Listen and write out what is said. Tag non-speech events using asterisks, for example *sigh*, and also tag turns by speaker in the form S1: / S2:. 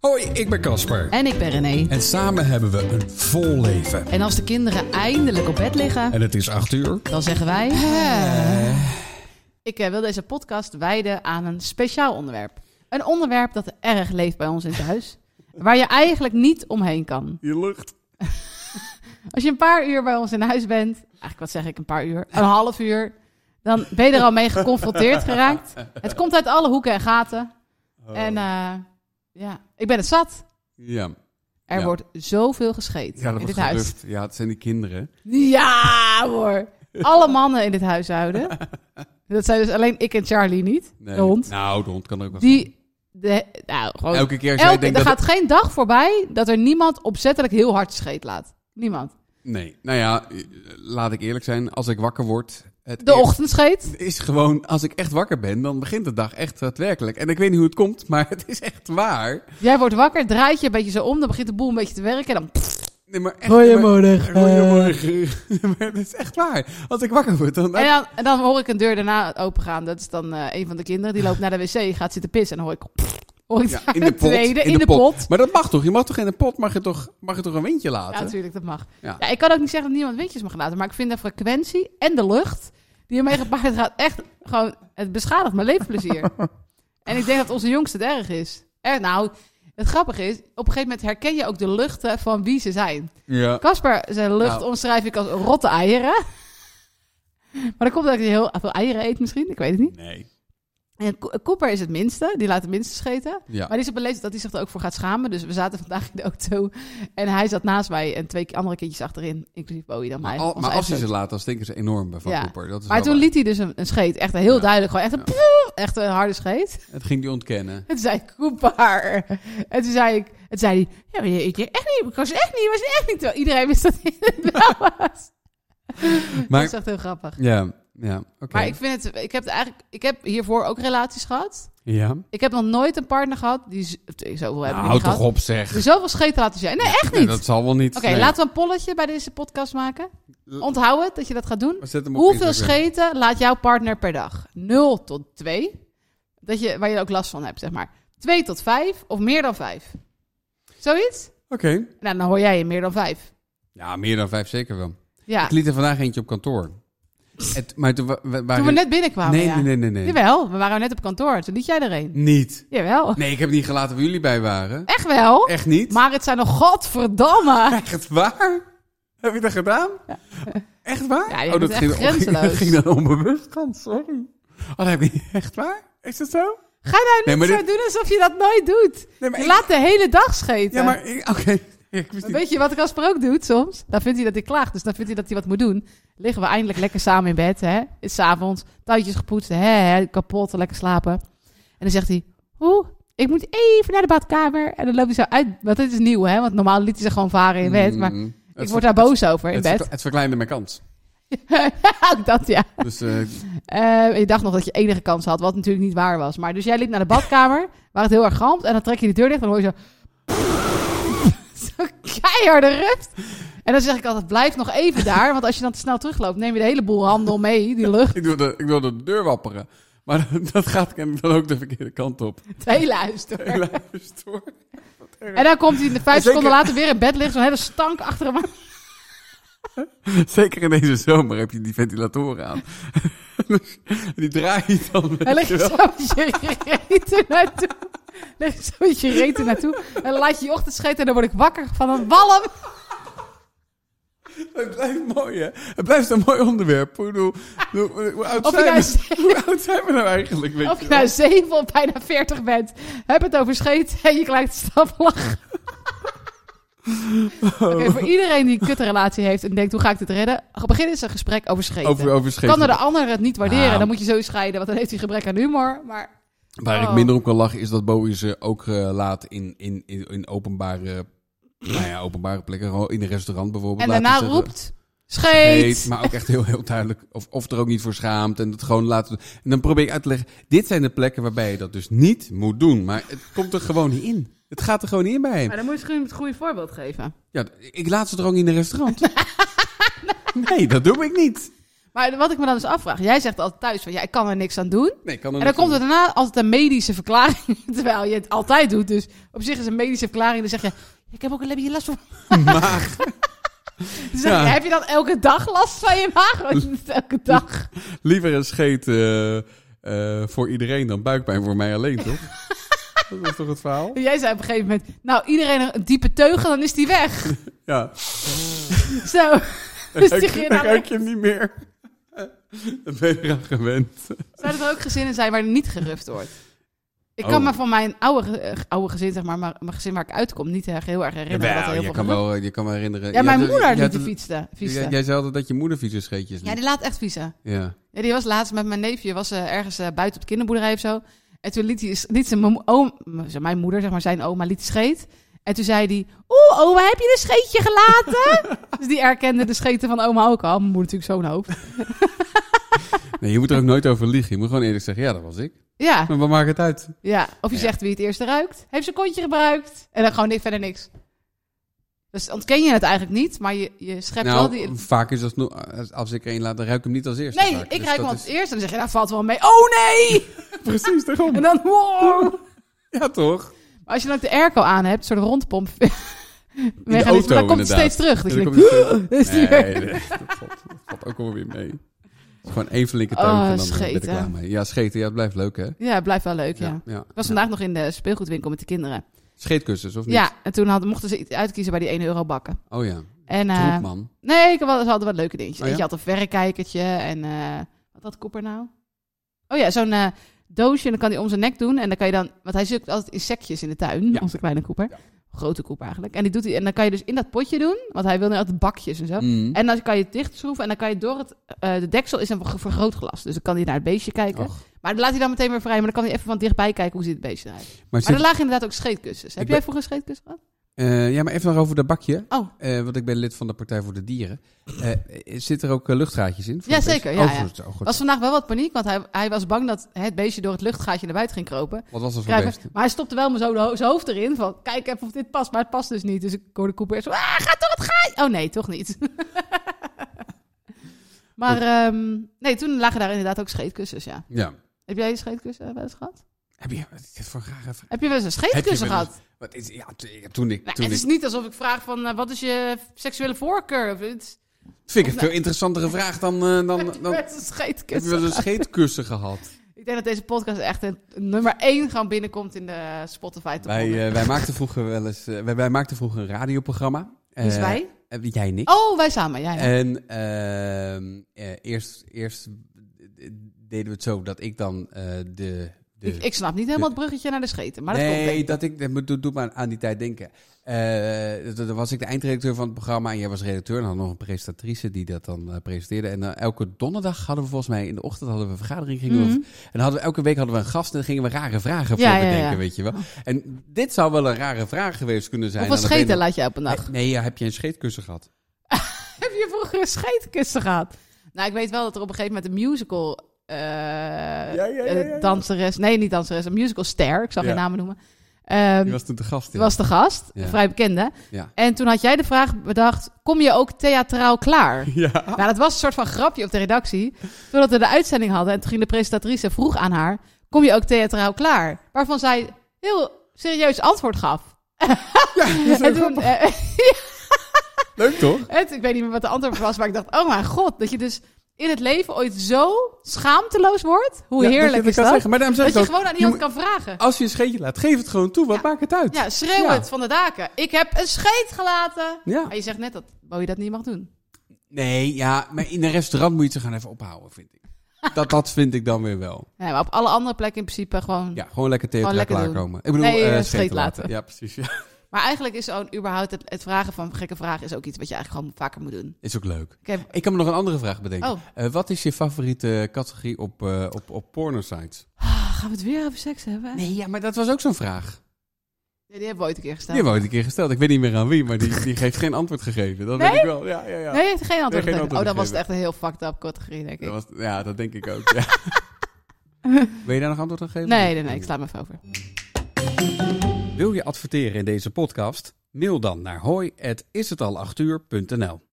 S1: Hoi, ik ben Casper.
S2: En ik ben René.
S1: En samen hebben we een vol leven.
S2: En als de kinderen eindelijk op bed liggen,
S1: En het is 8 uur.
S2: dan zeggen wij... Ik eh, wil deze podcast wijden aan een speciaal onderwerp. Een onderwerp dat erg leeft bij ons in
S3: *laughs*
S2: het huis. Waar je eigenlijk niet omheen kan.
S1: Je lucht.
S2: *laughs* Als je een paar uur bij ons in huis bent... Eigenlijk, wat zeg ik, een paar uur? Een half uur. Dan ben je er al mee geconfronteerd geraakt. Het komt uit alle hoeken en gaten.
S3: Oh.
S2: En eh, ja, ik ben het zat.
S3: Ja,
S2: Er
S3: Ja.
S2: wordt zoveel gescheet
S3: ja dat
S2: in
S3: wordt
S2: dit huis.
S3: gerucht. Ja, het zijn die kinderen.
S2: Ja hoor. Alle mannen in dit
S3: *laughs*
S2: huishouden. Dat zijn dus alleen ik en Charlie niet.
S3: Nee.
S2: De hond.
S3: Nou, de hond kan er ook wel.
S2: Die. De, nou,
S3: van.
S2: gewoon. Elke,
S3: Elke keer als jij denkt
S2: er
S3: dat...
S2: gaat geen dag voorbij dat er niemand opzettelijk heel hard scheet laat. Niemand.
S3: Nee, nou ja, eh, laat ik eerlijk zijn. Als ik wakker word... Het
S2: De
S3: eerste
S2: ochtendscheet.
S3: is gewoon, als ik echt wakker ben, dan begint de dag echt daadwerkelijk. En ik weet niet hoe het komt, maar het is echt waar.
S2: Jij wordt wakker, draait je een beetje zo om, dan begint de boel een beetje te werken. En dan
S3: Nee, maar echt,
S1: Goedemorgen.
S3: maar- *laughs* Goedemorgen. maar het is echt waar. Als ik wakker word, dan...
S2: En dan, en dan hoor ik een deur daarna opengaan. Dat is dan eh, een van de kinderen. Die loopt naar de wc, gaat zitten pissen. En dan hoor ik... Hoor ik
S3: Ja,
S2: daar
S3: in de
S2: een
S3: pot.
S2: tweede, in, de, pot.
S3: Maar dat mag toch? Je mag toch in de pot, mag je toch, mag je toch een windje
S2: Ja,
S3: laten?
S2: natuurlijk, dat mag.
S3: Ja.
S2: Ja, ik kan ook niet zeggen dat niemand windjes mag laten, maar ik vind de frequentie en de lucht die ermee gepaard gaat echt gewoon, het beschadigt mijn leefplezier.
S3: *laughs*
S2: en ik denk dat onze jongste het erg is. Er, nou, het grappige is, op een gegeven moment herken je ook de luchten van wie ze zijn.
S3: ja.
S2: Casper, zijn lucht
S3: Nou.
S2: omschrijf ik als rotte eieren. *laughs* maar dat komt dat hij heel veel eieren eet misschien, ik weet het niet.
S3: Nee.
S2: En Ko- Cooper is het minste, die laat het minste scheten.
S3: Ja.
S2: Maar die is op een leeftijd dat hij zich er ook voor gaat schamen. Dus we zaten vandaag in de auto en hij zat naast mij en twee andere kindjes achterin, inclusief Bowie dan
S3: Maar,
S2: mij.
S3: al-
S2: Onze
S3: maar als
S2: eigen
S3: je ze
S2: zoon.
S3: laat, dan stinken ze enorm bij Van
S2: Ja.
S3: Cooper. Dat is
S2: Maar
S3: wel
S2: toen
S3: waar.
S2: liet hij dus een, een scheet, echt heel
S3: Ja.
S2: duidelijk, gewoon echt een,
S3: Ja.
S2: pjoe, echt een harde scheet. *laughs*
S3: Het ging die *laughs* ontkennen.
S2: En toen zei ik, Cooper. En toen zei ik, en zei hij, ja, maar je- ik deed echt niet, ik was echt niet, ik was echt niet. Terwijl iedereen wist dat hij het wel was.
S3: Maar-
S2: Dat is echt heel grappig.
S3: Ja, ja, oké.
S2: Maar ik vind het, ik heb het eigenlijk, ik heb hiervoor ook relaties gehad.
S3: Ja.
S2: Ik heb nog nooit een partner gehad die, z- zoveel heb ik
S3: Nou,
S2: niet
S3: houd
S2: gehad.
S3: toch op, zeg.
S2: Er zoveel scheet laten zijn. Nee, echt
S3: Nee,
S2: niet.
S3: dat zal wel niet.
S2: Oké,
S3: nee.
S2: laten we een polletje bij deze podcast maken. Onthoud het dat je dat gaat doen.
S3: Zet hem op
S2: Hoeveel
S3: Instagram.
S2: scheten laat jouw partner per dag? 0 tot 2. Dat je, waar je ook last van hebt, zeg maar. 2 tot 5 of meer dan 5. Zoiets?
S3: Oké.
S2: Nou, dan hoor jij je meer dan 5.
S3: Ja, meer dan vijf zeker wel.
S2: Ja,
S3: Ik liet er vandaag eentje op kantoor. Het, maar toen wa- wa- waren...
S2: toen we net binnenkwamen.
S3: Nee,
S2: ja.
S3: nee, nee, nee, nee.
S2: Jawel, we waren net op kantoor. Toen liet jij er een.
S3: Niet.
S2: Jawel.
S3: Nee, ik heb niet gelaten waar jullie bij waren.
S2: Echt wel?
S3: Echt niet.
S2: Maar het zijn nog
S3: *laughs*
S2: godverdamme.
S3: Echt waar? Heb je dat gedaan? Echt waar?
S2: Ja, je
S3: oh,
S2: bent
S3: dat ging,
S2: echt grenzeloos.
S3: ging dan onbewust. Dan, sorry. Oh, dat heb je echt waar? Is dat zo?
S2: Ga nou
S3: Nee,
S2: niet
S3: maar
S2: zo
S3: dit-
S2: doen alsof je dat nooit doet.
S3: Nee, maar
S2: Je
S3: ik-
S2: laat de hele dag scheten.
S3: Ja, maar... ik- Oké. Ik wist
S2: Maar
S3: niet.
S2: Weet je wat Casper ook doet soms? Dan vindt hij dat ik klaag, dus dan vindt hij dat hij wat moet doen. Liggen we eindelijk lekker samen in bed, hè? Is 's avonds, touwtjes gepoetst, hè, hè, kapot, lekker slapen. En dan zegt hij, hoe? Ik moet even naar de badkamer. En dan loopt hij zo uit, want dit is nieuw, hè? Want normaal liet hij ze gewoon varen in bed, maar
S3: Mm,
S2: ik
S3: het
S2: word daar boos over in
S3: het,
S2: bed.
S3: verkle- het verkleinde mijn kans.
S2: *laughs* Ook dat, ja.
S3: Dus eh, *laughs*
S2: Eh, en je dacht nog dat je enige kans had, wat natuurlijk niet waar was. Maar dus jij liep naar de badkamer, *laughs* waar het heel erg galmt. En dan trek je de deur dicht en dan hoor *laughs* je zo... zo keiharde rust. En dan zeg ik altijd, blijf nog even daar. Want als je dan te snel terugloopt, neem je de hele boel handel mee, die lucht,
S3: ik, doe de, ik doe de deur wapperen. Maar *laughs* dat gaat kennelijk dan ook de verkeerde kant op.
S2: het hele huis *laughs* door.
S3: Ik luister hoor.
S2: En dan komt hij in de vijf
S3: Zeker.
S2: seconden later weer in bed liggen, zo'n hele stank achter hem. aan.
S3: Zeker in deze zomer heb je die ventilatoren aan. *laughs* Dus die draai je dan. weet
S2: En leg
S3: je
S2: je
S3: wel.
S2: zo met je reet er naartoe. Leg je zo met je reet er naartoe. En laat je je ochtend scheten en dan word ik wakker van een walm.
S3: Het blijft mooi, hè? Het blijft een mooi onderwerp. Ik bedoel, hoe, hoe oud
S2: Of je
S3: zijn
S2: nou
S3: we? *laughs* Hoe oud zijn we nou eigenlijk? Weet
S2: Of
S3: je
S2: je
S3: wel?
S2: nou 7 of bijna 40 bent, heb het over scheet en je krijgt staplachen.
S3: Oh.
S2: Oké, voor iedereen die een kutrelatie heeft en denkt, hoe ga ik dit redden? Begin eens een gesprek over scheten.
S3: Over, over scheef-
S2: kan er de ander het niet waarderen,
S3: Ah.
S2: dan moet je zo scheiden, want dan heeft hij gebrek aan humor. Maar
S3: Waar
S2: Oh.
S3: ik minder om kan lachen is dat Bowie ze ook eh, laat in, in, in, in openbare, nou ja, openbare plekken. Gewoon in een restaurant bijvoorbeeld.
S2: en
S3: laat
S2: daarna
S3: ze zeggen-
S2: roept, scheet.
S3: Heet, maar ook echt heel, heel duidelijk. Of, of er ook niet voor schaamt. En het gewoon laten. doen. En dan probeer ik uit te leggen. Dit zijn de plekken waarbij je dat dus niet moet doen. Maar het komt er gewoon niet in. Het gaat er gewoon niet in bij hem.
S2: Maar dan moet je gewoon het goede voorbeeld geven. *laughs*
S3: Ja, ik laat ze er ook niet in een restaurant. Nee, dat doe ik niet.
S2: Maar wat ik me dan dus afvraag. Jij zegt altijd thuis van, ja, ik kan er niks aan doen.
S3: Nee, ik kan er
S2: En dan
S3: niks
S2: komt
S3: aan
S2: er daarna altijd een medische verklaring. *laughs* Terwijl je het altijd doet. Dus op zich is een medische verklaring. Dan zeg je, ik heb ook een lapje last van
S3: doen. *laughs* Maar
S2: Dus Dan zeg
S3: Ja.
S2: ik, Heb je dan elke dag last van je maag? Want niet elke
S3: *laughs*
S2: dag.
S3: liever een scheet eh, eh, voor iedereen dan buikpijn voor mij alleen,
S2: *laughs*
S3: toch? dat was toch het verhaal?
S2: En jij zei op een gegeven moment, nou, iedereen een diepe teugel, dan is die
S3: *laughs*
S2: weg. *laughs*
S3: Ja.
S2: Zo. Dus die ging je
S3: dan
S2: nou
S3: ruik je hem niet meer. Dan ben je eraan gewend.
S2: Zouden er ook gezinnen zijn waar er niet geruft wordt? Ik
S3: Oh.
S2: kan me van mijn oude, ge- eh, oude gezin, zeg maar, maar, mijn gezin waar ik uitkom, niet erg, heel erg herinneren. dat er heel
S3: je
S2: veel
S3: kan,
S2: gerucht-
S3: wel, je kan me herinneren.
S2: Ja,
S3: Je
S2: mijn
S3: had-
S2: moeder
S3: je
S2: liet
S3: had-
S2: die fietsen.
S3: Jij,
S2: fietsen.
S3: jij zei altijd dat je moeder fietsenscheetjes
S2: Ja,
S3: liet.
S2: die laat echt fietsen.
S3: Ja.
S2: Ja, die was laatst met mijn neefje, was eh, ergens eh, buiten op de kinderboerderij of zo. En toen liet, hij, liet ze mijn, mo- oom, m- mijn moeder, zeg maar, zijn oma, liet scheet. En toen zei hij, oeh, oma, heb je een scheetje
S3: *laughs*
S2: gelaten? dus die erkende de scheten van oma ook al. Mijn moeder natuurlijk zo'n hoop.
S3: Nee, je moet er ook nooit over liegen. Je moet gewoon eerlijk zeggen, ja, dat was ik.
S2: Ja,
S3: Maar wat maakt het uit?
S2: ja. Of je
S3: Ja.
S2: zegt wie het eerste ruikt. Heeft zijn kontje gebruikt. En dan gewoon niks, verder niks. Dus ontken je het eigenlijk niet, maar je, je schept wel
S3: nou,
S2: die...
S3: vaak is dat... no- Als, als ik er één laat, dan ruik ik hem niet als eerste.
S2: Nee,
S3: vaak.
S2: ik
S3: Dus
S2: ruik
S3: dat
S2: hem als
S3: is-
S2: eerst en dan zeg je, dat valt wel mee. Oh nee!
S3: Precies, daarom.
S2: En dan, *laughs* wow!
S3: *laughs* Ja, toch?
S2: Maar als je dan ook de airco aan hebt, zo'n rondpomp. *laughs* mechanisme,
S3: auto,
S2: dan komt het
S3: inderdaad.
S2: steeds terug. *laughs* Dus
S3: Dan
S2: ik
S3: kom
S2: denk,
S3: je-
S2: is
S3: nee,
S2: die weer.
S3: nee, dat valt, dat valt ook alweer mee. Het is Gewoon één flinke teug
S2: Oh,
S3: en dan ben ik
S2: scheten.
S3: er klaar mee. Ja, scheten, ja, het blijft leuk, hè?
S2: ja, het blijft wel leuk. Ja.
S3: ja.
S2: Ik was vandaag nog in de speelgoedwinkel met de kinderen.
S3: Scheetkussens, of niet?
S2: Ja, en toen hadden, mochten ze iets uitkiezen bij die 1 euro bakken.
S3: Oh ja,
S2: En, eh,
S3: troep, man.
S2: nee, ik had, ze hadden wat leuke dingetjes.
S3: Oh, ja?
S2: Eentje had een verrekijkertje en eh, wat had Cooper nou? Oh ja, zo'n eh, doosje en dan kan hij om zijn nek doen. En dan kan je dan, want hij zoekt altijd insectjes in de tuin,
S3: Ja.
S2: onze kleine Cooper.
S3: Ja.
S2: Grote Cooper eigenlijk. En, die doet hij, en dan kan je dus in dat potje doen, want hij wil nu altijd bakjes en zo.
S3: Mm.
S2: En dan kan je het dicht schroeven en dan kan je door het... eh, de deksel is een vergrootglas, dus dan kan hij naar het beestje kijken.
S3: Och.
S2: Maar dan laat hij dan meteen weer vrij, maar dan kan hij even van dichtbij kijken hoe ziet het beestje eruit.
S3: Maar
S2: Maar
S3: zit,
S2: er lagen inderdaad ook scheetkussens. Heb
S3: Ik
S2: jij
S3: ben-
S2: vroeger een scheetkussen gehad?
S3: eh, ja, maar even nog over dat bakje.
S2: Oh,
S3: Eh, want ik ben lid van de Partij voor de Dieren. Eh, zit er ook eh, luchtgaatjes in? voor
S2: Ja,
S3: de
S2: zeker,
S3: beesten?
S2: ja,
S3: Oh,
S2: ja.
S3: goed, oh, goed.
S2: was vandaag wel wat paniek, want hij, hij was bang dat het beestje door het luchtgaatje naar buiten ging kropen.
S3: Wat was dat voor
S2: Krijgen-
S3: beest?
S2: maar hij stopte wel maar zo de ho- zijn hoofd erin, van kijk even of dit past, maar het past dus niet. Dus ik hoorde Cooper eerst zo, ah, gaat door het gaatje! Oh nee, toch niet. *laughs* maar ehm, nee, toen lagen daar inderdaad ook scheetkussens, ja.
S3: Ja.
S2: Heb jij een scheetkussen eh, wel eens gehad?
S3: Heb je... Wat is dit voor een rare vraag?
S2: Heb je wel eens een
S3: Heb je
S2: scheetkussen
S3: wel eens-
S2: gehad?
S3: Wat is... Ja, t- ja, toen ik...
S2: Nou,
S3: toen
S2: het is
S3: ik
S2: niet alsof ik vraag van eh, wat is je seksuele voorkeur? Of iets.
S3: vind ik een veel interessantere vraag dan... eh,
S2: *laughs*
S3: dan,
S2: Heb je
S3: dan
S2: wel
S3: heb
S2: eens een
S3: je
S2: scheetkussen
S3: wel eens
S2: gehad?
S3: een scheetkussen
S2: *laughs*
S3: gehad?
S2: Ik denk dat deze podcast echt een, nummer 1 gewoon binnenkomt in de Spotify. top
S3: Wij,
S2: 100.
S3: eh, wij maakten vroeger wel eens... eh, wij, wij maakten vroeger een radioprogramma. Eh,
S2: dus wij?
S3: eh, jij en ik. Eh,
S2: Oh, wij samen, ja. ja.
S3: En ehm, eh, eerst, eerst deden we het zo dat ik dan eh, de... de
S2: ik, ik snap niet helemaal het bruggetje naar de scheten, maar dat komt denk
S3: nee,
S2: ik.
S3: dat ik, dat moet- doet, doet me aan die tijd denken. Eh, dat- dan was ik de eindredacteur van het programma en jij was redacteur. En dan nog een presentatrice die dat dan eh, presenteerde. En dan elke donderdag hadden we volgens mij, in de ochtend hadden we een vergadering. Gingen we-
S2: Mhm.
S3: en dan hadden we, elke week hadden we een gast en dan gingen we rare vragen voor
S2: Ja, Oh. ja,
S3: bedenken,
S2: ja.
S3: weet je wel. En dit zou wel een rare vraag geweest kunnen zijn.
S2: Hoeveel
S3: Aan de
S2: scheten
S3: benen-
S2: laat jij op een dag?
S3: Nee, ja, heb je een scheetkussen gehad?
S2: *laughs* Ehm, Heb je vroeger een scheetkussen gehad? Nou, ik weet wel dat er op een gegeven moment een musical eh,
S3: ja, ja, ja.
S2: eh, danseres, nee niet danseres, een musical ster, ik zal
S3: Ja.
S2: geen namen noemen. Ehm,
S3: Die was toen de gast. ja.
S2: was de gast,
S3: Ja.
S2: een vrij bekende.
S3: Ja.
S2: En toen had jij de vraag bedacht, kom je ook theatraal klaar?
S3: *laughs* *laughs*
S2: *laughs*
S3: Ja.
S2: Nou, dat was een soort van grapje op de redactie. Totdat we de uitzending hadden en toen ging de presentatrice en vroeg aan haar, kom je ook theatraal klaar? Waarvan zij heel serieus antwoord gaf. En toen, eh,
S3: Leuk toch?
S2: het, ik weet niet meer wat de antwoord was, maar ik dacht, oh mijn god, dat je dus in het leven ooit zo schaamteloos wordt. Hoe
S3: Ja,
S2: heerlijk
S3: je
S2: is
S3: kan
S2: dat?
S3: zeggen. Maar daarom zeg
S2: dat
S3: ik
S2: je
S3: ook,
S2: gewoon aan
S3: je
S2: iemand
S3: moet-
S2: kan vragen.
S3: Als je een scheetje laat, geef het gewoon toe. Wat maakt het uit?
S2: Ja, schreeuw
S3: Ja.
S2: het van de daken. Ik heb een scheet gelaten.
S3: Ja.
S2: Maar je zegt net dat Bowie dat niet mag doen.
S3: Nee, ja, maar in een restaurant moet je ze gaan even ophouden, vind ik. Dat, dat vind ik dan weer wel.
S2: Ja, maar op alle andere plekken in principe gewoon...
S3: Ja, gewoon lekker tegen
S2: Gewoon
S3: elkaar
S2: lekker doen.
S3: klaarkomen. Ik bedoel,
S2: Nee,
S3: eh,
S2: eh,
S3: scheten
S2: scheet laten.
S3: Ja, precies. Ja.
S2: Maar eigenlijk is zo'n überhaupt het, het vragen van gekke vragen is ook iets wat je eigenlijk gewoon vaker moet doen.
S3: Is ook leuk.
S2: Ik heb,
S3: Ik kan me nog een andere vraag bedenken.
S2: oh,
S3: Eh, wat is je favoriete categorie op, eh op, op pornosites?
S2: gaan we het weer over seks hebben?
S3: Nee, ja, maar dat was ook zo'n vraag.
S2: Nee, die hebben we ooit een keer
S3: Die
S2: gesteld.
S3: hebben we ooit een keer gesteld. Ik weet niet meer aan wie, maar die, *laughs* die heeft geen antwoord gegeven. Dat
S2: Nee?
S3: weet ik wel. Ja, ja, ja.
S2: Nee, heeft geen
S3: geen
S2: antwoord. gegeven.
S3: antwoord
S2: oh, dan was het
S3: gegeven.
S2: echt een heel fucked up categorie, denk ik.
S3: Dat was, ja, dat denk ik ook.
S2: *laughs*
S3: Ja. Wil je daar nog antwoord aan geven?
S2: Nee, nee, nee, ik sla me even over.
S3: Wil je adverteren in deze podcast? Mail dan naar hoi@ishetal8uur.nl.